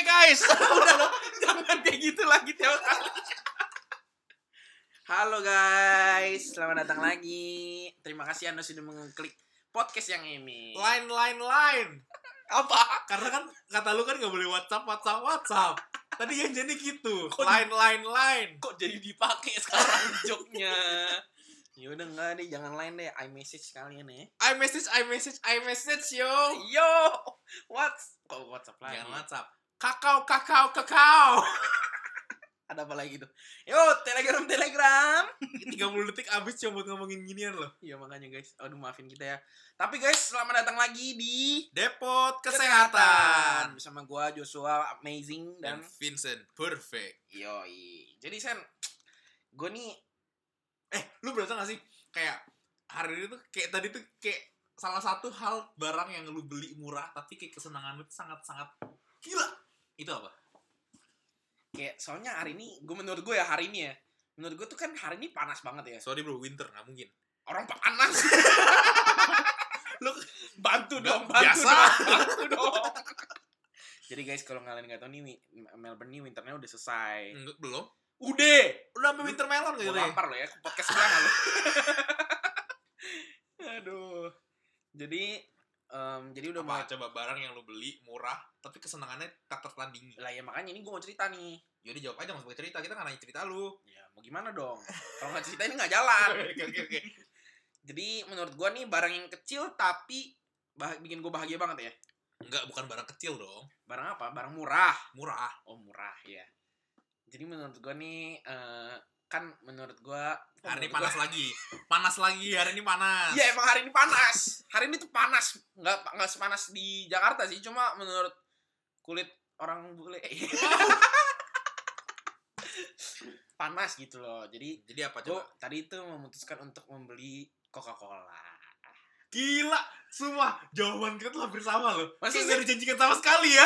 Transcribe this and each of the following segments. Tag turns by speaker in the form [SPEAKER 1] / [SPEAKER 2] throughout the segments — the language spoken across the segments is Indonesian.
[SPEAKER 1] guys udah loh jangan kayak gitu lagi tiap kali halo guys selamat datang lagi terima kasih anda sudah mengklik podcast yang ini
[SPEAKER 2] Line, line, line.
[SPEAKER 1] apa
[SPEAKER 2] Karena kan kata lu kan nggak boleh WhatsApp, WhatsApp, WhatsApp. Tadi yang jadi gitu.
[SPEAKER 1] Kok di-
[SPEAKER 2] Line, line, line.
[SPEAKER 1] kok jadi dipakai sekarang joknya ya udah enggak deh jangan lain deh i message sekalian ya
[SPEAKER 2] I message, I message, I message yo.
[SPEAKER 1] Oh, yo what's kok whatsapp lagi
[SPEAKER 2] Jangan WhatsApp. Kakao, kakao, kakao.
[SPEAKER 1] ada apa lagi tuh yo telegram telegram
[SPEAKER 2] 30 detik abis cuma buat ngomongin ginian loh.
[SPEAKER 1] Iya makanya guys, aduh maafin kita ya. Tapi guys, selamat datang lagi di
[SPEAKER 2] Depot kesehatan.
[SPEAKER 1] bersama gua Joshua Amazing
[SPEAKER 2] Dan
[SPEAKER 1] dan
[SPEAKER 2] Vincent Perfect.
[SPEAKER 1] Yoi. Jadi Sen, gue nih
[SPEAKER 2] Eh, lu berasa gak sih kayak hari ini tuh kayak tadi tuh kayak salah satu hal barang yang lu beli murah tapi kayak kesenangan lu tuh sangat-sangat gila. Itu apa?
[SPEAKER 1] kayak soalnya hari ini gue menurut gue ya hari ini ya. Menurut gue tuh kan hari ini panas banget ya.
[SPEAKER 2] Sorry bro, winter nggak mungkin.
[SPEAKER 1] Orang panas. Lu bantu dong,
[SPEAKER 2] Nggak,
[SPEAKER 1] bantu
[SPEAKER 2] biasa.
[SPEAKER 1] dong, bantu dong. Jadi guys, kalau kalian nggak tahu nih wi- Melbourne nih winternya udah selesai.
[SPEAKER 2] Enggak, belum.
[SPEAKER 1] Udah.
[SPEAKER 2] Hmm. Udah sampai winter melon
[SPEAKER 1] Gue
[SPEAKER 2] gitu ya.
[SPEAKER 1] lapar lo ya, ke podcast sebelah nggak lo. Aduh. Jadi, em, jadi udah mau
[SPEAKER 2] Apa coba barang yang lu beli murah tapi kesenangannya tak tertandingi.
[SPEAKER 1] lah ya makanya ini gue mau cerita nih.
[SPEAKER 2] Jadi jawab aja mas pakai cerita, kita nggak nanya cerita lu.
[SPEAKER 1] Ya mau gimana dong? Kalau nggak cerita ini nggak jalan.
[SPEAKER 2] Oke oke oke.
[SPEAKER 1] Jadi menurut gue nih barang yang kecil tapi bah- bikin gue bahagia banget ya.
[SPEAKER 2] Enggak, bukan barang kecil dong.
[SPEAKER 1] Barang apa? Barang murah.
[SPEAKER 2] Murah.
[SPEAKER 1] Oh murah ya. Jadi menurut gue nih eh, kan menurut gue
[SPEAKER 2] Hari ini panas lagi. Panas lagi, hari ini panas.
[SPEAKER 1] Iya emang hari ini panas. Hari ini tuh panas. Nggak nggak sepanas di Jakarta sih. Cuma menurut kulit orang bule panas gitu loh. Jadi
[SPEAKER 2] Jadi apa
[SPEAKER 1] gue
[SPEAKER 2] coba?
[SPEAKER 1] tadi itu memutuskan untuk membeli Coca-Cola.
[SPEAKER 2] Gila, semua jawaban kita tuh hampir sama loh.
[SPEAKER 1] Masa
[SPEAKER 2] Masih
[SPEAKER 1] sih?
[SPEAKER 2] nggak dijanjikan sama sekali ya?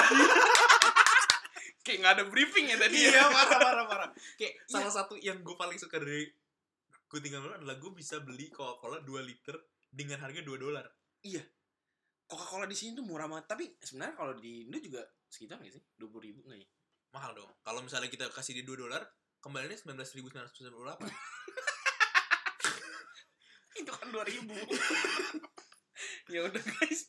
[SPEAKER 1] Kayak nggak ada briefing ya Iya. tadi.
[SPEAKER 2] iya, parah parah parah. Kayak salah satu yang gue paling suka dari gue tinggal dulu adalah gue bisa beli Coca-Cola 2 liter dengan harga 2 dolar.
[SPEAKER 1] Coca-Cola di sini tuh murah banget. Tapi sebenarnya kalau di Indo juga sekitar nggak sih? Dua puluh ribu nggak ya?
[SPEAKER 2] Mahal dong. Kalau misalnya kita kasih dia 2 dolar, kembaliannya 19.998.
[SPEAKER 1] Itu kan dua ribu. ya udah guys.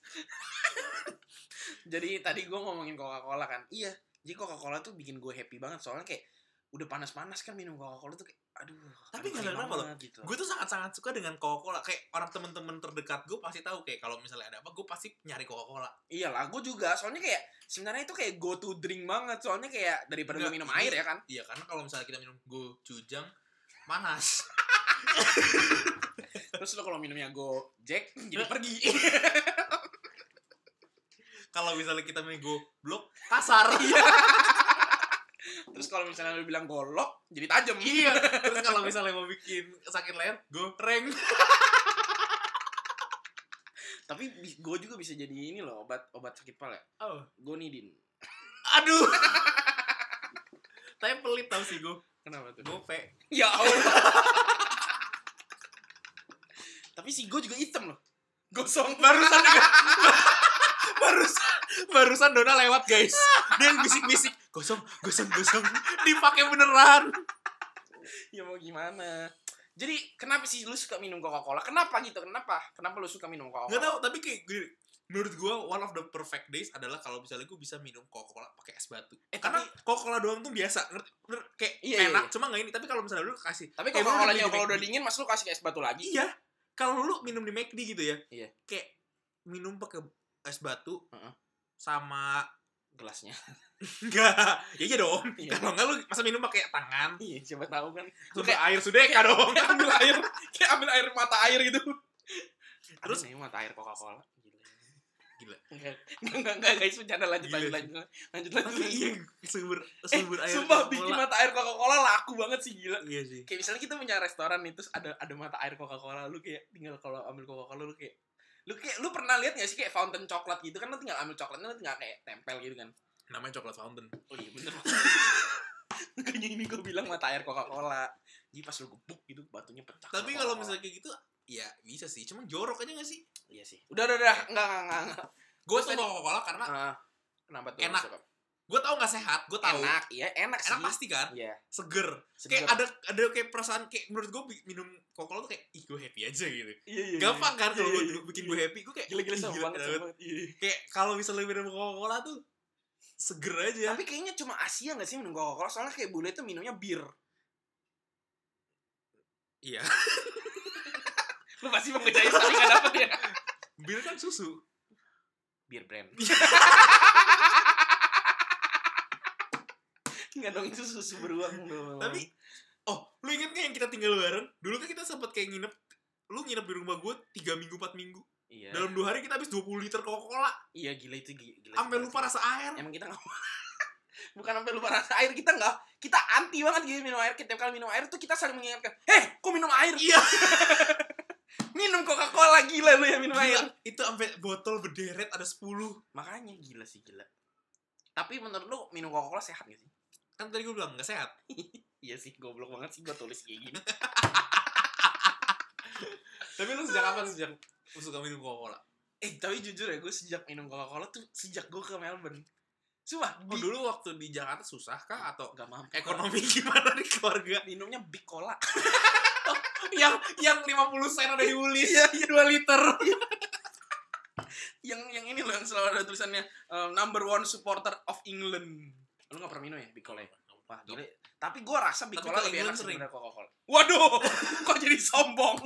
[SPEAKER 1] jadi tadi gue ngomongin Coca-Cola kan. Iya. Jadi Coca-Cola tuh bikin gue happy banget soalnya kayak udah panas-panas kan minum Coca-Cola tuh kayak aduh.
[SPEAKER 2] Tapi
[SPEAKER 1] aduh,
[SPEAKER 2] nggak ada
[SPEAKER 1] enak
[SPEAKER 2] kenapa loh.
[SPEAKER 1] banget Gitu.
[SPEAKER 2] gue tuh sangat-sangat suka dengan Coca-Cola. Kayak orang temen-temen terdekat gue pasti tahu kayak kalau misalnya ada apa, gue pasti nyari Coca-Cola.
[SPEAKER 1] Iya lah, gue juga. Soalnya kayak sebenarnya itu kayak go to drink banget. Soalnya kayak daripada lu
[SPEAKER 2] Nggak,
[SPEAKER 1] minum
[SPEAKER 2] ini-
[SPEAKER 1] air ya kan.
[SPEAKER 2] Iya, karena kalau misalnya kita minum go cujang panas.
[SPEAKER 1] Terus lu kalau minumnya go Jack jadi pergi.
[SPEAKER 2] kalau misalnya kita minum go blok kasar.
[SPEAKER 1] Terus kalau misalnya lu bilang golok jadi tajam.
[SPEAKER 2] iya terus kalau misalnya mau bikin sakit leher goreng
[SPEAKER 1] Tapi gue juga bisa jadi ini loh obat obat sakit pala. ya.
[SPEAKER 2] oh.
[SPEAKER 1] Gonidin.
[SPEAKER 2] aduh tapi pelit tau sih gue
[SPEAKER 1] Kenapa tuh?
[SPEAKER 2] gope
[SPEAKER 1] Ya Allah. Tapi si Go juga hitam loh. Gosong.
[SPEAKER 2] barusan barusan barusan Dona lewat guys dan bisik-bisik gosong gosong gosong dipakai beneran
[SPEAKER 1] ya mau gimana? Jadi kenapa sih lu suka minum Coca-Cola? Kenapa gitu? Kenapa? Kenapa lu suka minum
[SPEAKER 2] nggak
[SPEAKER 1] Coca-Cola?
[SPEAKER 2] tahu tapi kayak gini, menurut gue one of the perfect days adalah kalau misalnya gue bisa minum Coca-Cola pakai es batu.
[SPEAKER 1] Eh,
[SPEAKER 2] Karena Coca-Cola doang tuh biasa, ngerti? Bener, kayak
[SPEAKER 1] Iya, iya,
[SPEAKER 2] enak,
[SPEAKER 1] iya.
[SPEAKER 2] cuma nggak ini. Tapi kalau misalnya lu kasih
[SPEAKER 1] Tapi
[SPEAKER 2] kayak
[SPEAKER 1] kalau
[SPEAKER 2] lu
[SPEAKER 1] nya
[SPEAKER 2] minum
[SPEAKER 1] kalau
[SPEAKER 2] di-
[SPEAKER 1] udah dingin mas lu kasih es batu lagi.
[SPEAKER 2] Iya. Kalau lu minum di McD gitu ya.
[SPEAKER 1] Iya.
[SPEAKER 2] Kayak minum pakai es batu
[SPEAKER 1] Heeh.
[SPEAKER 2] sama
[SPEAKER 1] Gelasnya.
[SPEAKER 2] enggak. Ya iya dong.
[SPEAKER 1] Iya.
[SPEAKER 2] Kalau enggak lu masa minum pakai tangan.
[SPEAKER 1] Iya, coba tahu kan. Lu
[SPEAKER 2] Lu kayak air sudeka dong.
[SPEAKER 1] Kayak ambil air, kayak ambil air mata air gitu. Terus
[SPEAKER 2] Terus-
[SPEAKER 1] nih mata air Coca-Cola.
[SPEAKER 2] Gila.
[SPEAKER 1] Enggak, enggak, enggak guys, bercanda lanjut,
[SPEAKER 2] Gila
[SPEAKER 1] lanjut,
[SPEAKER 2] sih.
[SPEAKER 1] lanjut, lanjut,
[SPEAKER 2] Tapi
[SPEAKER 1] lanjut.
[SPEAKER 2] iya sumber sumber air.
[SPEAKER 1] Eh, Sumpah
[SPEAKER 2] Coca-Cola.
[SPEAKER 1] bikin mata air Coca-Cola laku banget sih gila.
[SPEAKER 2] Iya sih.
[SPEAKER 1] Kayak misalnya kita punya restoran nih terus ada ada mata air Coca-Cola lu kayak tinggal kalau ambil Coca-Cola lu kayak lu kayak lu pernah lihat gak sih kayak fountain coklat gitu kan lu tinggal ambil coklatnya lu tinggal kayak tempel gitu kan.
[SPEAKER 2] Namanya coklat fountain.
[SPEAKER 1] Oh iya bener. Makanya ini gue bilang mata air Coca-Cola. Jadi pas lu gebuk gitu batunya pecah.
[SPEAKER 2] Tapi
[SPEAKER 1] Coca-Cola.
[SPEAKER 2] kalau misalnya kayak gitu ya bisa sih. Cuman jorok aja gak sih?
[SPEAKER 1] iya sih. Udah udah udah enggak enggak enggak. enggak.
[SPEAKER 2] Gue suka Coca-Cola karena
[SPEAKER 1] Ah, kenapa tuh?
[SPEAKER 2] Enak.
[SPEAKER 1] Cakep?
[SPEAKER 2] gue tau nggak sehat gue tau
[SPEAKER 1] enak iya enak sih
[SPEAKER 2] enak pasti kan
[SPEAKER 1] iya
[SPEAKER 2] seger
[SPEAKER 1] seger.
[SPEAKER 2] kayak ada ada kayak perasaan kayak menurut gue minum kokol tuh kayak ih gue happy aja gitu
[SPEAKER 1] iya, iya,
[SPEAKER 2] gampang kan kalau
[SPEAKER 1] Iya,
[SPEAKER 2] gue
[SPEAKER 1] iya,
[SPEAKER 2] dulu bikin
[SPEAKER 1] iya.
[SPEAKER 2] gue happy gue kayak ih,
[SPEAKER 1] gila-gila sama banget,
[SPEAKER 2] keren
[SPEAKER 1] sama
[SPEAKER 2] banget.
[SPEAKER 1] banget. Iya, iya.
[SPEAKER 2] kayak kalau misalnya minum coca-cola tuh seger aja
[SPEAKER 1] tapi kayaknya cuma Asia nggak sih minum Coca-Cola soalnya kayak bule tuh minumnya bir
[SPEAKER 2] iya
[SPEAKER 1] lu pasti mengejain tapi nggak dapet ya
[SPEAKER 2] bir kan susu
[SPEAKER 1] bir brand nggak dong itu susu beruang dong
[SPEAKER 2] tapi oh lu inget gak yang kita tinggal bareng dulu kan kita sempet kayak nginep lu nginep di rumah gue tiga minggu empat minggu
[SPEAKER 1] iya
[SPEAKER 2] dalam dua hari kita habis 20 liter coca-cola
[SPEAKER 1] iya gila itu gi- gila
[SPEAKER 2] sampai
[SPEAKER 1] itu.
[SPEAKER 2] lupa rasa air
[SPEAKER 1] emang kita nggak bukan sampai lupa rasa air kita nggak kita anti banget gitu minum air Kita kali minum air tuh kita saling mengingatkan heh kok minum air
[SPEAKER 2] iya
[SPEAKER 1] minum Coca Cola gila lu ya minum air
[SPEAKER 2] gila itu sampai botol berderet ada 10
[SPEAKER 1] makanya gila sih gila tapi menurut lu minum Coca Cola sehat gak sih
[SPEAKER 2] kan tadi gue bilang nggak sehat
[SPEAKER 1] iya sih goblok banget sih gua tulis kayak gini
[SPEAKER 2] tapi lu sejak kapan sejak lu suka minum coca-cola
[SPEAKER 1] eh tapi jujur ya gue sejak minum Coca Cola tuh sejak gue ke Melbourne Sumpah,
[SPEAKER 2] oh, dulu waktu di Jakarta susah kah atau
[SPEAKER 1] gak mampu
[SPEAKER 2] ekonomi gimana di keluarga
[SPEAKER 1] minumnya big cola
[SPEAKER 2] yang yang 50 sen ada di Woolies
[SPEAKER 1] Iya, iya dua liter. yang yang ini loh yang selalu ada tulisannya eh, number one supporter of England. Lu gak pernah minum ya Bicola ya? Wah, gila. Tapi gue rasa
[SPEAKER 2] Tapi
[SPEAKER 1] Bicola
[SPEAKER 2] ke
[SPEAKER 1] lebih enak
[SPEAKER 2] England sering.
[SPEAKER 1] sebenarnya Coca-Cola. Waduh, kok jadi sombong?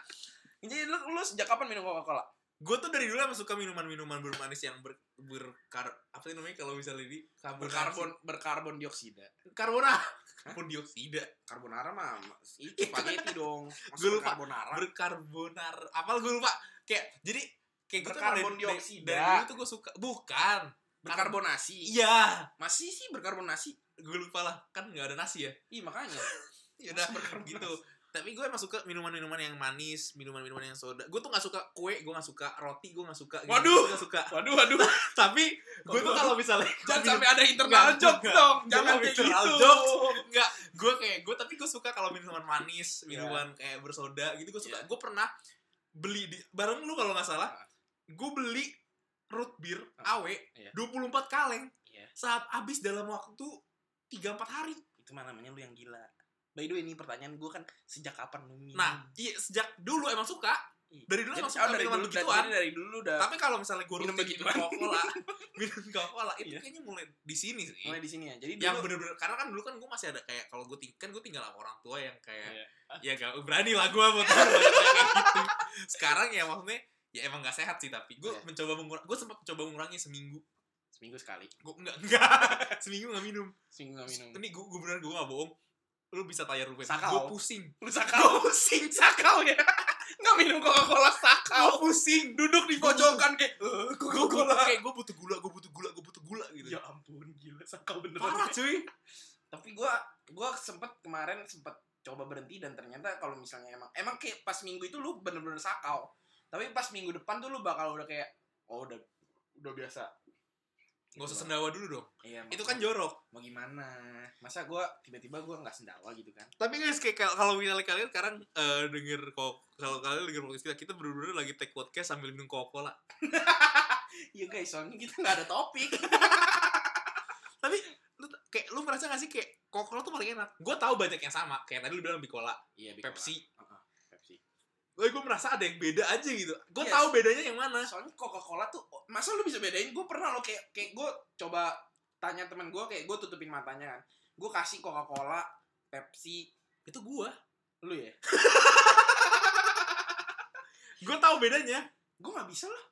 [SPEAKER 1] jadi lu, lu sejak kapan minum Coca-Cola?
[SPEAKER 2] gue tuh dari dulu emang suka minuman-minuman bermanis yang ber, berkar apa sih namanya kalau misalnya di
[SPEAKER 1] Berkarbon berkarbon dioksida.
[SPEAKER 2] karbona karbon dioksida
[SPEAKER 1] Karbonara mah itu spaghetti dong.
[SPEAKER 2] Gua
[SPEAKER 1] Masuk
[SPEAKER 2] lupa.
[SPEAKER 1] karbonara.
[SPEAKER 2] berkarbonar apa gue lupa kayak jadi kayak gue tuh emang
[SPEAKER 1] Berkarbon
[SPEAKER 2] dari- dari-
[SPEAKER 1] dioksida.
[SPEAKER 2] dari dulu tuh gue suka bukan
[SPEAKER 1] Berkarbonasi.
[SPEAKER 2] iya
[SPEAKER 1] Masih sih berkarbonasi.
[SPEAKER 2] gue lupa lah kan nggak ada nasi ya
[SPEAKER 1] Ih, makanya.
[SPEAKER 2] ya
[SPEAKER 1] Iya,
[SPEAKER 2] udah
[SPEAKER 1] Berkarbonasi.
[SPEAKER 2] gitu tapi gue emang suka minuman-minuman yang manis minuman-minuman yang soda gue tuh nggak suka kue gue nggak suka roti gue nggak suka gitu.
[SPEAKER 1] Waduh.
[SPEAKER 2] Gua nggak suka
[SPEAKER 1] Waduh, waduh.
[SPEAKER 2] tapi gue tuh
[SPEAKER 1] Waduh,
[SPEAKER 2] kalau misalnya
[SPEAKER 1] Jangan
[SPEAKER 2] minum-
[SPEAKER 1] sampai ada internal
[SPEAKER 2] Enggak,
[SPEAKER 1] joke
[SPEAKER 2] enggak.
[SPEAKER 1] dong.
[SPEAKER 2] Jangan
[SPEAKER 1] Jangan kayak
[SPEAKER 2] internal
[SPEAKER 1] gitu.
[SPEAKER 2] jokes. Enggak, gue kayak gue tapi gue suka kalau minuman manis,
[SPEAKER 1] Iya.
[SPEAKER 2] minuman kayak bersoda gitu gue suka.
[SPEAKER 1] Iya.
[SPEAKER 2] Gue pernah beli di bareng lu kalau nggak salah, gue beli root beer
[SPEAKER 1] Ah,
[SPEAKER 2] awe
[SPEAKER 1] iya.
[SPEAKER 2] 24 kaleng
[SPEAKER 1] Iya.
[SPEAKER 2] saat habis dalam waktu 3 4 hari.
[SPEAKER 1] Itu mah namanya lu yang gila. By the way, ini pertanyaan gue kan sejak kapan lu minum?
[SPEAKER 2] Nah, iya sejak dulu emang suka,
[SPEAKER 1] Hmm. Iya.
[SPEAKER 2] dari dulu
[SPEAKER 1] Jadi,
[SPEAKER 2] emang suka
[SPEAKER 1] oh, dari
[SPEAKER 2] minuman
[SPEAKER 1] dulu dari,
[SPEAKER 2] begituan.
[SPEAKER 1] jadi dari dulu udah
[SPEAKER 2] tapi kalau misalnya gue
[SPEAKER 1] Minum
[SPEAKER 2] rutin minum
[SPEAKER 1] begituan.
[SPEAKER 2] Coca-Cola, minum Coca-Cola itu
[SPEAKER 1] Iya.
[SPEAKER 2] kayaknya mulai di sini sih.
[SPEAKER 1] mulai di sini ya. Jadi
[SPEAKER 2] yang
[SPEAKER 1] dulu
[SPEAKER 2] bener-bener karena kan dulu kan gue masih ada kayak kalau gue kan gue tinggal sama orang tua yang kayak
[SPEAKER 1] Iya.
[SPEAKER 2] ya gak berani lah gue buat kayak gitu sekarang ya maksudnya ya emang gak sehat sih tapi gue
[SPEAKER 1] Iya.
[SPEAKER 2] mencoba mengurangi gue sempat mencoba mengurangi seminggu
[SPEAKER 1] seminggu sekali,
[SPEAKER 2] gue enggak enggak seminggu gak minum
[SPEAKER 1] seminggu gak minum.
[SPEAKER 2] ini gue gue bener gue gak bohong lu bisa tanya Ruben gue
[SPEAKER 1] Sakau.
[SPEAKER 2] pusing
[SPEAKER 1] Lu sakau, pusing sakau ya. Nggak minum Coca-Cola
[SPEAKER 2] gue
[SPEAKER 1] sakau.
[SPEAKER 2] pusing
[SPEAKER 1] Duduk di pojokan kayak "Eh,
[SPEAKER 2] gue gue
[SPEAKER 1] Coca-Cola.
[SPEAKER 2] kayak gue butuh gula gue butuh gula gue butuh gula gitu
[SPEAKER 1] Ya ampun, gila sakau
[SPEAKER 2] parah
[SPEAKER 1] beneran.
[SPEAKER 2] cuy
[SPEAKER 1] Tapi gua gua sempet kemarin sempet coba berhenti dan ternyata kalau misalnya emang emang kayak pas minggu itu lu bener-bener sakau. Tapi pas minggu depan tuh lu bakal udah kayak oh udah udah biasa. Gitu.
[SPEAKER 2] gak usah sendawa dulu dong
[SPEAKER 1] Iya,
[SPEAKER 2] itu kan jorok
[SPEAKER 1] mau gimana? Masa gua tiba-tiba gua nggak sendawa gitu kan?
[SPEAKER 2] Tapi guys, kayak kal- kalau misalnya kalian sekarang eh, denger kok kalau kalian denger podcast kita, kita bener-bener lagi take podcast sambil minum Coca-Cola.
[SPEAKER 1] Iya guys, soalnya kita nggak ada topik.
[SPEAKER 2] Lu t- kayak lu merasa gak sih kayak Coca-Cola tuh paling enak? Gue tahu banyak yang sama, kayak tadi lu bilang Bicola,
[SPEAKER 1] Iya, Big
[SPEAKER 2] Pepsi.
[SPEAKER 1] Cola. Pepsi.
[SPEAKER 2] Gue gue merasa ada yang beda aja gitu. Gue
[SPEAKER 1] Yes.
[SPEAKER 2] tahu bedanya yang mana.
[SPEAKER 1] Soalnya Coca-Cola tuh oh, masa lu bisa bedain? Gua pernah lo kayak kayak gua coba tanya teman gua kayak gua tutupin matanya kan. Gua kasih Coca-Cola, Pepsi,
[SPEAKER 2] Itu gue.
[SPEAKER 1] lu ya?
[SPEAKER 2] Gue tahu bedanya.
[SPEAKER 1] Gua nggak bisa lah.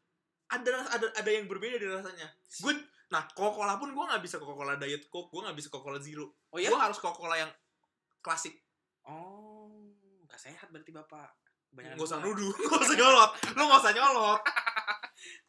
[SPEAKER 2] Ada ras- ada ada yang berbeda di rasanya. Gue nah Coca-Cola pun gue nggak bisa Coca-Cola Diet Coke, gue nggak bisa Coca-Cola Zero.
[SPEAKER 1] Oh ya?
[SPEAKER 2] Gue harus Coca-Cola yang klasik.
[SPEAKER 1] Oh, nggak sehat berarti bapak.
[SPEAKER 2] Gak
[SPEAKER 1] Kebanyakan
[SPEAKER 2] usah
[SPEAKER 1] gula.
[SPEAKER 2] nuduh, gak usah nyolot. Lu gak usah nyolot.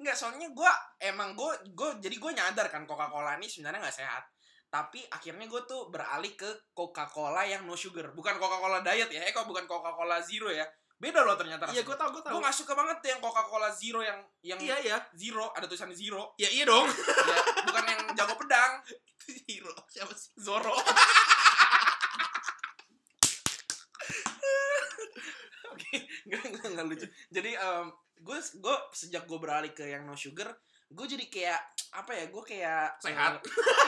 [SPEAKER 1] Nggak, soalnya gue emang gue gue jadi gue nyadar kan Coca-Cola ini sebenarnya nggak sehat. Tapi akhirnya gue tuh beralih ke Coca-Cola yang no sugar, bukan Coca-Cola diet ya, eh kok bukan Coca-Cola zero ya. Beda loh ternyata.
[SPEAKER 2] Iya gue tau, gue tau.
[SPEAKER 1] gue nggak suka banget tuh yang Coca-Cola zero yang yang
[SPEAKER 2] Iya iya.
[SPEAKER 1] zero ada tulisan zero,
[SPEAKER 2] Ya iya dong.
[SPEAKER 1] ya, bukan yang jago pedang.
[SPEAKER 2] Hero siapa sih?
[SPEAKER 1] Zoro. Oke, nggak nggak nggak lucu. Jadi gue gue sejak gue beralih ke yang no sugar, gue jadi kayak apa ya gue kayak
[SPEAKER 2] Sehat.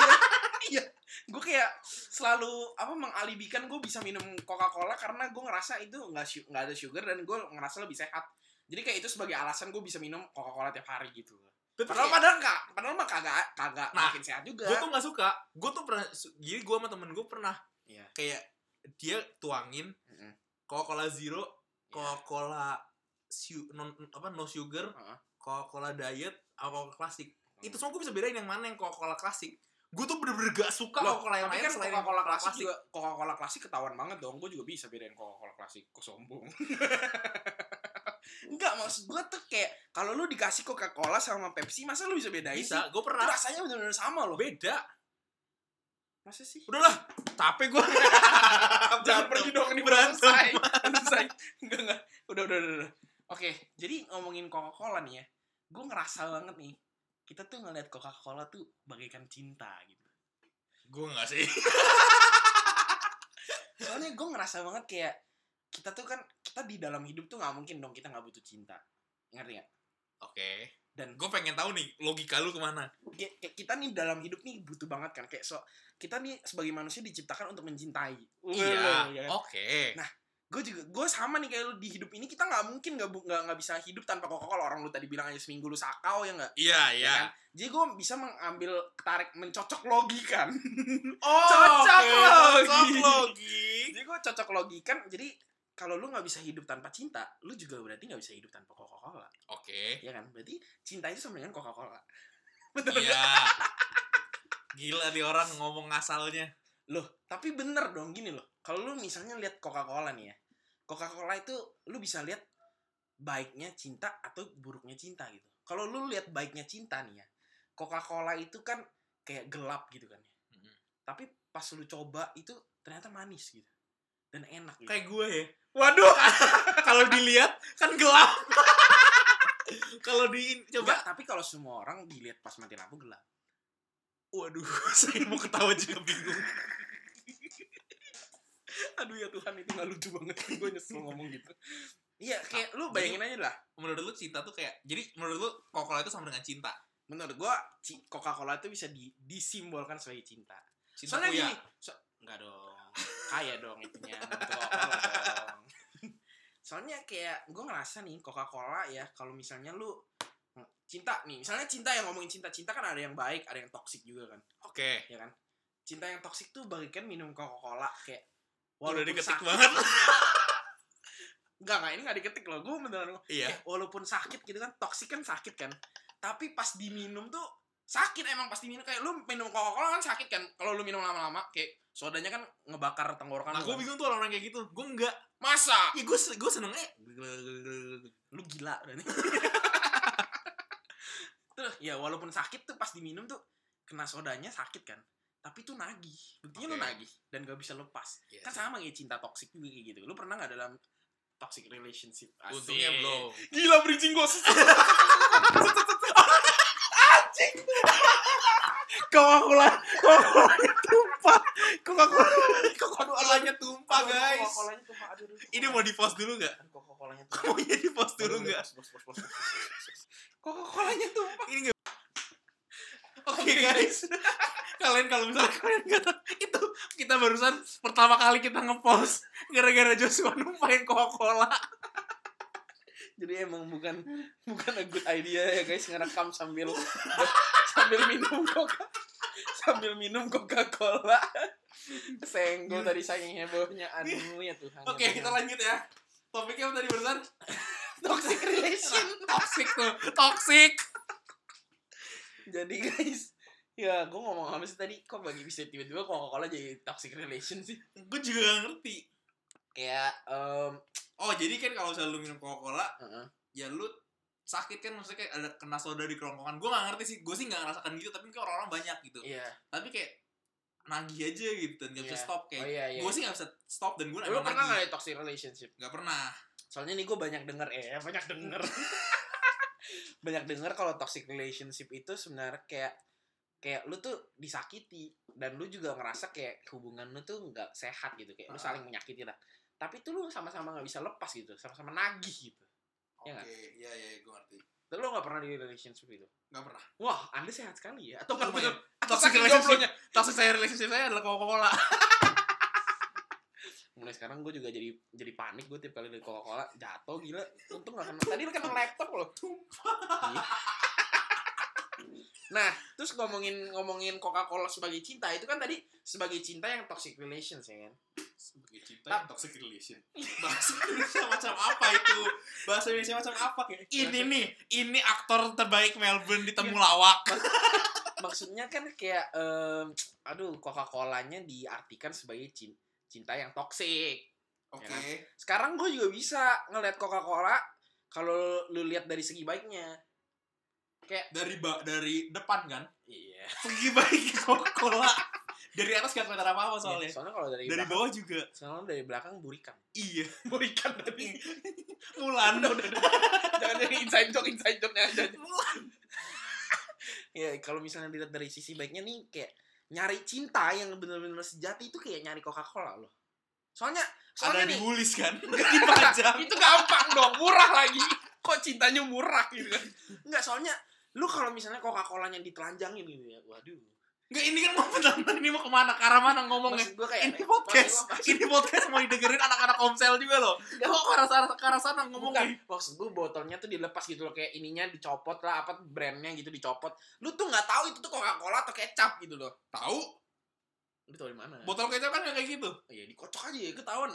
[SPEAKER 1] iya gue kayak selalu apa mengalibikan gue bisa minum coca cola karena gue ngerasa itu nggak su- nggak ada sugar dan gue ngerasa lebih sehat jadi kayak itu sebagai alasan gue bisa minum coca cola tiap hari gitu
[SPEAKER 2] Tapi kayak-
[SPEAKER 1] padahal padahal nggak padahal mah kagak kagak
[SPEAKER 2] Nah,
[SPEAKER 1] makin sehat juga
[SPEAKER 2] gue tuh nggak suka gue tuh pernah su- jadi gue sama temen gue pernah
[SPEAKER 1] Iya.
[SPEAKER 2] kayak dia tuangin
[SPEAKER 1] Mm-mm.
[SPEAKER 2] Coca-Cola Zero
[SPEAKER 1] Iya.
[SPEAKER 2] Coca-Cola su- non apa no sugar
[SPEAKER 1] Heeh.
[SPEAKER 2] Coca-Cola diet apa Coca klasik
[SPEAKER 1] Hmm.
[SPEAKER 2] itu semua gue bisa bedain yang mana yang Coca-Cola klasik gue tuh bener-bener gak suka
[SPEAKER 1] Loh,
[SPEAKER 2] Coca-Cola yang
[SPEAKER 1] tapi
[SPEAKER 2] lain
[SPEAKER 1] kan
[SPEAKER 2] selain
[SPEAKER 1] Coca-Cola klasik juga Coca-Cola klasik ketahuan banget dong. Gue juga bisa bedain Coca-Cola klasik. Kok sombong? Enggak, maksud gue tuh kayak kalau lu dikasih Coca-Cola sama Pepsi, masa lu bisa bedain
[SPEAKER 2] bisa
[SPEAKER 1] sih?
[SPEAKER 2] gue
[SPEAKER 1] Itu
[SPEAKER 2] pernah
[SPEAKER 1] rasanya bener-bener sama loh.
[SPEAKER 2] beda
[SPEAKER 1] Masa sih?
[SPEAKER 2] udahlah capek gue
[SPEAKER 1] Jangan pergi dong ini belum
[SPEAKER 2] berantem
[SPEAKER 1] selesai. Belum selesai. Enggak, enggak. Udah, udah, udah, udah. Oke, jadi ngomongin Coca-Cola nih ya. Gue ngerasa banget nih. Kita tuh ngeliat Coca-Cola tuh bagaikan cinta gitu.
[SPEAKER 2] gue gak sih
[SPEAKER 1] soalnya gue ngerasa banget kayak kita tuh kan kita di dalam hidup tuh nggak mungkin dong kita nggak butuh cinta ngerti nggak
[SPEAKER 2] oke
[SPEAKER 1] Dan-
[SPEAKER 2] gue pengen tahu nih logika lu kemana
[SPEAKER 1] Kayak- kayak kita nih dalam hidup nih butuh banget kan kayak so kita nih sebagai manusia diciptakan untuk mencintai
[SPEAKER 2] iya
[SPEAKER 1] oh.
[SPEAKER 2] oke
[SPEAKER 1] gue juga gue sama nih kayak lu di hidup ini kita nggak mungkin nggak bu- nggak nggak bisa hidup tanpa coca cola orang lu tadi bilang aja seminggu lu sakau ya nggak
[SPEAKER 2] iya
[SPEAKER 1] Ya
[SPEAKER 2] iya
[SPEAKER 1] kan? jadi gue bisa mengambil tarik mencocok logikan
[SPEAKER 2] Oh,
[SPEAKER 1] Cocok
[SPEAKER 2] oke,
[SPEAKER 1] logi.
[SPEAKER 2] Cocok logi.
[SPEAKER 1] jadi gue cocok logikan jadi kalau lu nggak bisa hidup tanpa cinta lu juga berarti nggak bisa hidup tanpa coca cola
[SPEAKER 2] Oke.
[SPEAKER 1] ya kan berarti cinta itu sama dengan coca cola
[SPEAKER 2] Iya. Gila nih orang ngomong asalnya.
[SPEAKER 1] loh tapi bener dong gini loh kalau lu misalnya lihat coca cola nih ya coca cola itu lu bisa lihat baiknya cinta atau buruknya cinta gitu kalau lu lihat baiknya cinta nih ya coca cola itu kan kayak gelap gitu kan ya
[SPEAKER 2] Mm.
[SPEAKER 1] tapi pas lu coba itu ternyata manis gitu dan enak gitu.
[SPEAKER 2] Kayak gue ya.
[SPEAKER 1] waduh
[SPEAKER 2] Kalau dilihat kan gelap. Kalau di coba
[SPEAKER 1] coba tapi kalau semua orang dilihat pas mati lampu gelap
[SPEAKER 2] waduh, saya mau ketawa juga bingung.
[SPEAKER 1] aduh ya Tuhan itu nggak lucu banget gue nyesel ngomong gitu iya kayak lu bayangin aja lah
[SPEAKER 2] Menurut lu cinta tuh kayak jadi menurut lu Coca-Cola itu sama dengan cinta.
[SPEAKER 1] menurut gua ci- Coca-Cola itu bisa di- disimbolkan sebagai cinta.
[SPEAKER 2] Cinta
[SPEAKER 1] Soalnya
[SPEAKER 2] kuya.
[SPEAKER 1] gini, so- enggak dong. Kaya dong itunya Coca-Cola dong. Soalnya kayak gua ngerasa nih Coca-Cola ya kalau misalnya lu hmm, cinta nih, misalnya cinta yang ngomongin cinta-cinta kan ada yang baik, ada yang toksik juga kan,
[SPEAKER 2] Oke.
[SPEAKER 1] ya kan? Cinta yang toksik tuh bagaikan minum Coca-Cola kayak
[SPEAKER 2] Udah diketik
[SPEAKER 1] sakit-
[SPEAKER 2] banget.
[SPEAKER 1] Enggak, enggak, ini enggak diketik loh. Gua beneran
[SPEAKER 2] Iya.
[SPEAKER 1] Kayak Eh, walaupun sakit gitu kan toksik kan sakit kan tapi pas diminum tuh sakit emang pasti minum kayak lu minum coca cola kan sakit kan kalau lu minum lama-lama kayak sodanya kan ngebakar tenggorokan
[SPEAKER 2] Nah,
[SPEAKER 1] lu
[SPEAKER 2] gue
[SPEAKER 1] kan.
[SPEAKER 2] bingung tuh orang-orang kayak gitu. Gue enggak.
[SPEAKER 1] masa
[SPEAKER 2] Ya gue gue senengnya.
[SPEAKER 1] lu gila berarti. terus ya walaupun sakit tuh pas diminum tuh kena sodanya sakit kan tapi tuh nagih buktinya lu
[SPEAKER 2] Oke.
[SPEAKER 1] nagih dan gak bisa lepas
[SPEAKER 2] Iya
[SPEAKER 1] kan
[SPEAKER 2] sih.
[SPEAKER 1] sama kayak cinta toksik juga kayak gitu lu pernah nggak dalam toxic relationship Asik.
[SPEAKER 2] Untungnya belum.
[SPEAKER 1] Gila bridging gue Anjing Coca-Cola Coca-Cola tumpah Coca-Cola
[SPEAKER 2] Coca-Colanya tumpah, guys.
[SPEAKER 1] Coca-Colanya tumpah Aduh, aduh,
[SPEAKER 2] Ini mau di-post dulu nggak?
[SPEAKER 1] Coca-Colanya tumpah
[SPEAKER 2] Kamu jadi post dulu nggak?
[SPEAKER 1] Coca-Colanya tumpah
[SPEAKER 2] Ini nggak? Oke guys, Oh, iya. kalian kalau misalnya kalian nggak tahu itu kita barusan pertama kali kita ngepost gara-gara Joshua numpahin Coca-Cola.
[SPEAKER 1] Jadi emang bukan Bukan a good idea ya guys Ngerekam sambil Sambil minum Coca Sambil minum Coca-Cola Senggol tadi saking hebohnya Aduh ya Tuhan ya
[SPEAKER 2] Oke kita
[SPEAKER 1] Tuhan.
[SPEAKER 2] lanjut ya. Topiknya tadi barusan
[SPEAKER 1] Toxic relation
[SPEAKER 2] toxic tuh, toxic.
[SPEAKER 1] jadi guys ya gue ngomong apa sih tadi kok bagi bisa tiba-tiba coca cola jadi toxic relation sih
[SPEAKER 2] Gue juga nggak ngerti.
[SPEAKER 1] kayak em
[SPEAKER 2] Oh jadi kan kalau misalnya lu minum Coca-Cola,
[SPEAKER 1] heeh.
[SPEAKER 2] ya lu sakit kan maksudnya kayak ada kena soda di kerongkongan. Gue nggak ngerti sih, gue sih nggak ngerasakan gitu, tapi mungkin orang-orang banyak gitu.
[SPEAKER 1] iya
[SPEAKER 2] Tapi kayak nagih aja gitu dan nggak bisa
[SPEAKER 1] Iya.
[SPEAKER 2] stop
[SPEAKER 1] oh
[SPEAKER 2] kayak
[SPEAKER 1] iya iya
[SPEAKER 2] gue sih gak bisa stop dan gue
[SPEAKER 1] lu pernah nggak ada toxic relationship
[SPEAKER 2] Gak pernah
[SPEAKER 1] soalnya nih gue banyak denger eh banyak denger banyak denger kalau toxic relationship itu sebenarnya kayak kayak lu tuh disakiti dan lu juga ngerasa kayak hubungan lu tuh nggak sehat gitu kayak lu
[SPEAKER 2] Ah.
[SPEAKER 1] saling menyakiti lah tapi tuh lu sama-sama nggak bisa lepas gitu sama-sama nagih gitu Iya nggak?
[SPEAKER 2] iya iya gue ngerti
[SPEAKER 1] Tapi lo gak pernah di relationship itu?
[SPEAKER 2] Nggak pernah.
[SPEAKER 1] Wah, anda sehat sekali ya? Atau nggak
[SPEAKER 2] Lumayan.
[SPEAKER 1] bener? Atau
[SPEAKER 2] Toxic
[SPEAKER 1] saking
[SPEAKER 2] relationship.
[SPEAKER 1] jomblonya?
[SPEAKER 2] Toxic saya relationship saya adalah Coca-Cola.
[SPEAKER 1] Mulai sekarang gue juga jadi jadi panik gue tiap kali dari Coca-Cola. Jatuh gila. Untung gak kena. Tadi lo kena laptop lo. Iya. nah, terus ngomongin ngomongin Coca-Cola sebagai cinta itu kan tadi sebagai cinta yang toxic relations ya kan?
[SPEAKER 2] Sebagai cinta yang toxic relation. Bahasa Indonesia macam apa itu? Bahasa Indonesia macam apa? Ini nih, ini aktor terbaik Melbourne di Temulawak.
[SPEAKER 1] Maksudnya kan kayak em, aduh Coca-Colanya diartikan sebagai cin- cinta yang toxic.
[SPEAKER 2] Oke.
[SPEAKER 1] sekarang gue juga bisa ngelihat Coca-Cola kalau lu lihat dari segi baiknya
[SPEAKER 2] Dari ba- dari depan kan?
[SPEAKER 1] iya
[SPEAKER 2] Segi baik Coca-Cola. Dari atas kan gak kelihatan apa-apa soalnya.
[SPEAKER 1] Iya, soalnya kalau dari,
[SPEAKER 2] Dari
[SPEAKER 1] belakang
[SPEAKER 2] bawah juga.
[SPEAKER 1] soalnya dari belakang burikan
[SPEAKER 2] Iya.
[SPEAKER 1] burikan dari
[SPEAKER 2] Mulan.
[SPEAKER 1] jangan jadi inside joke inside joke aja
[SPEAKER 2] Mulan.
[SPEAKER 1] ya kalau misalnya dilihat dari sisi baiknya nih kayak nyari cinta yang bener-bener sejati itu kayak nyari Coca-Cola loh soalnya
[SPEAKER 2] Ada
[SPEAKER 1] soalnya nih
[SPEAKER 2] diulis kan? Dipajang.
[SPEAKER 1] itu gampang dong murah lagi kok cintanya murah gitu kan nggak soalnya lu kalau misalnya Coca-Colanya ditelanjangin gitu ya waduh
[SPEAKER 2] Enggak, ini kan mau bentar, ini mau kemana? Ke arah mana ngomongnya?
[SPEAKER 1] maksud gue kayak
[SPEAKER 2] ini podcast
[SPEAKER 1] maksud-
[SPEAKER 2] ini podcast mau didengerin anak-anak komsel juga loh
[SPEAKER 1] Nggak.
[SPEAKER 2] kok ke arah sana ke arah sana kan?
[SPEAKER 1] Bukan,
[SPEAKER 2] ngomongnya
[SPEAKER 1] maksud gue botolnya tuh dilepas gitu loh kayak ininya dicopot lah apa brandnya gitu dicopot. Lu tuh nggak tahu itu tuh Coca-Cola atau kecap gitu loh.
[SPEAKER 2] tahu
[SPEAKER 1] Lu tahu di mana?
[SPEAKER 2] botol kecap kan nggak kayak gitu
[SPEAKER 1] ya dikocok aja ya ketahuan.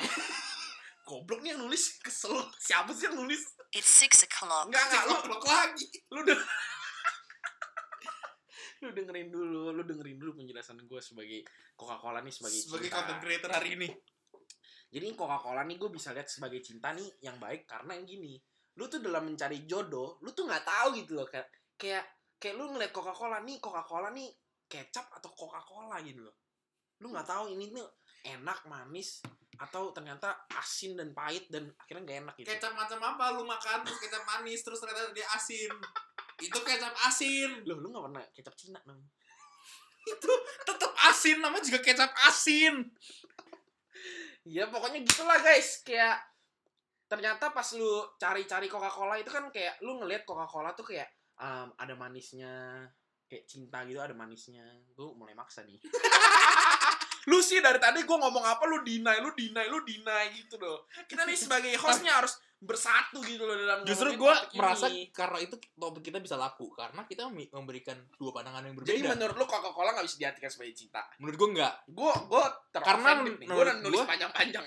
[SPEAKER 1] Goblok nih yang nulis kesel. Siapa sih yang nulis?
[SPEAKER 3] It's six o'clock.
[SPEAKER 1] Enggak enggak lu
[SPEAKER 2] blok lagi
[SPEAKER 1] lu de- lu dengerin dulu, lu dengerin dulu penjelasan gue sebagai Coca-Cola nih sebagai,
[SPEAKER 2] sebagai
[SPEAKER 1] cinta.
[SPEAKER 2] content creator hari ini
[SPEAKER 1] Jadi Coca-Cola nih gue bisa lihat sebagai cinta nih yang baik karena yang gini. Lu tuh dalam mencari jodoh, lu tuh nggak tahu gitu loh kayak kayak kayak lu ngeliat Coca-Cola nih, Coca-Cola nih kecap atau Coca-Cola gitu loh. Lu nggak tahu ini tuh enak manis atau ternyata asin dan pahit dan akhirnya nggak enak gitu.
[SPEAKER 2] kecap macam apa lu makan terus kecap manis terus ternyata dia asin itu kecap asin
[SPEAKER 1] Loh, lu nggak pernah kecap Cina namanya.
[SPEAKER 2] itu tetap asin namanya juga kecap asin
[SPEAKER 1] Ya pokoknya gitulah guys, kayak ternyata pas lu cari-cari Coca-Cola itu kan kayak lu ngelihat Coca-Cola tuh kayak um, ada manisnya, kayak cinta gitu ada manisnya. Gue mulai maksa nih. lu sih dari tadi gue ngomong apa lu deny, lu deny, lu deny gitu loh. Kita nih sebagai hostnya harus bersatu gitu loh dalam
[SPEAKER 2] justru
[SPEAKER 1] ngomongin
[SPEAKER 2] gue
[SPEAKER 1] topik ini.
[SPEAKER 2] merasa karena itu topik kita bisa laku karena kita mi- memberikan dua pandangan yang
[SPEAKER 1] jadi
[SPEAKER 2] berbeda
[SPEAKER 1] menurut lu Coca-Cola gak bisa diartikan sebagai cinta?
[SPEAKER 2] menurut gue enggak
[SPEAKER 1] Gue gue
[SPEAKER 2] Karena
[SPEAKER 1] nih. Gue
[SPEAKER 2] menurut
[SPEAKER 1] udah nulis
[SPEAKER 2] gua-
[SPEAKER 1] panjang-panjang.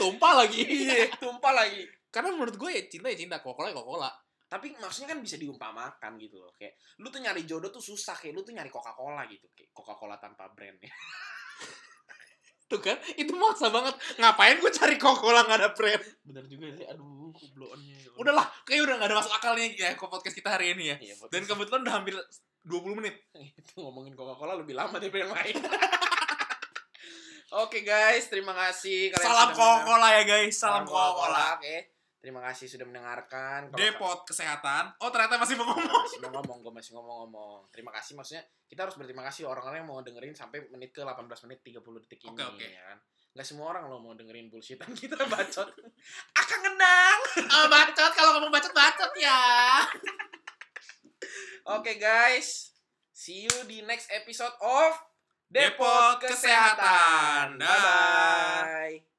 [SPEAKER 2] tumpah lagi
[SPEAKER 1] Iya, tumpah lagi.
[SPEAKER 2] karena menurut gue ya cinta ya cinta kokola ya kokola
[SPEAKER 1] tapi maksudnya kan bisa diumpamakan gitu loh kayak lu tuh nyari jodoh tuh susah kayak lu tuh nyari Coca Cola gitu kayak Coca Cola tanpa brand ya
[SPEAKER 2] Tuh kan, itu maksa banget. Ngapain gue cari Coca-Cola gak ada brand?
[SPEAKER 1] bener juga sih aduh ya kubloannya
[SPEAKER 2] Udahlah, kayaknya udah gak ada masuk akal nih ya ke podcast kita hari ini ya.
[SPEAKER 1] Iya, buat-
[SPEAKER 2] Dan kebetulan udah hampir 20 menit.
[SPEAKER 1] itu ngomongin Coca Cola lebih lama daripada yang lain oke guys terima kasih kalian
[SPEAKER 2] Salam
[SPEAKER 1] sudah mendengar-
[SPEAKER 2] Coca-Cola ya guys, salam
[SPEAKER 1] Coca-Cola,
[SPEAKER 2] Coca-Cola.
[SPEAKER 1] oke terima kasih sudah mendengarkan Kalau-
[SPEAKER 2] Depot kesehatan. Oh, ternyata masih mau ngomong.
[SPEAKER 1] masih mau ngomong gue masih ngomong-ngomong terima kasih maksudnya kita harus berterima kasih orang-orang yang mau dengerin sampai menit ke 18 menit 30 detik ini
[SPEAKER 2] Oke, oke.
[SPEAKER 1] ya kan Gak semua orang lo mau dengerin bullshitan kita bacot Ah, akan ngenang
[SPEAKER 2] Oh, bacot kalau ngomong bacot-bacot ya.
[SPEAKER 1] oke guys see you di next episode of
[SPEAKER 2] Depot Kesehatan. Dah.
[SPEAKER 1] bye bye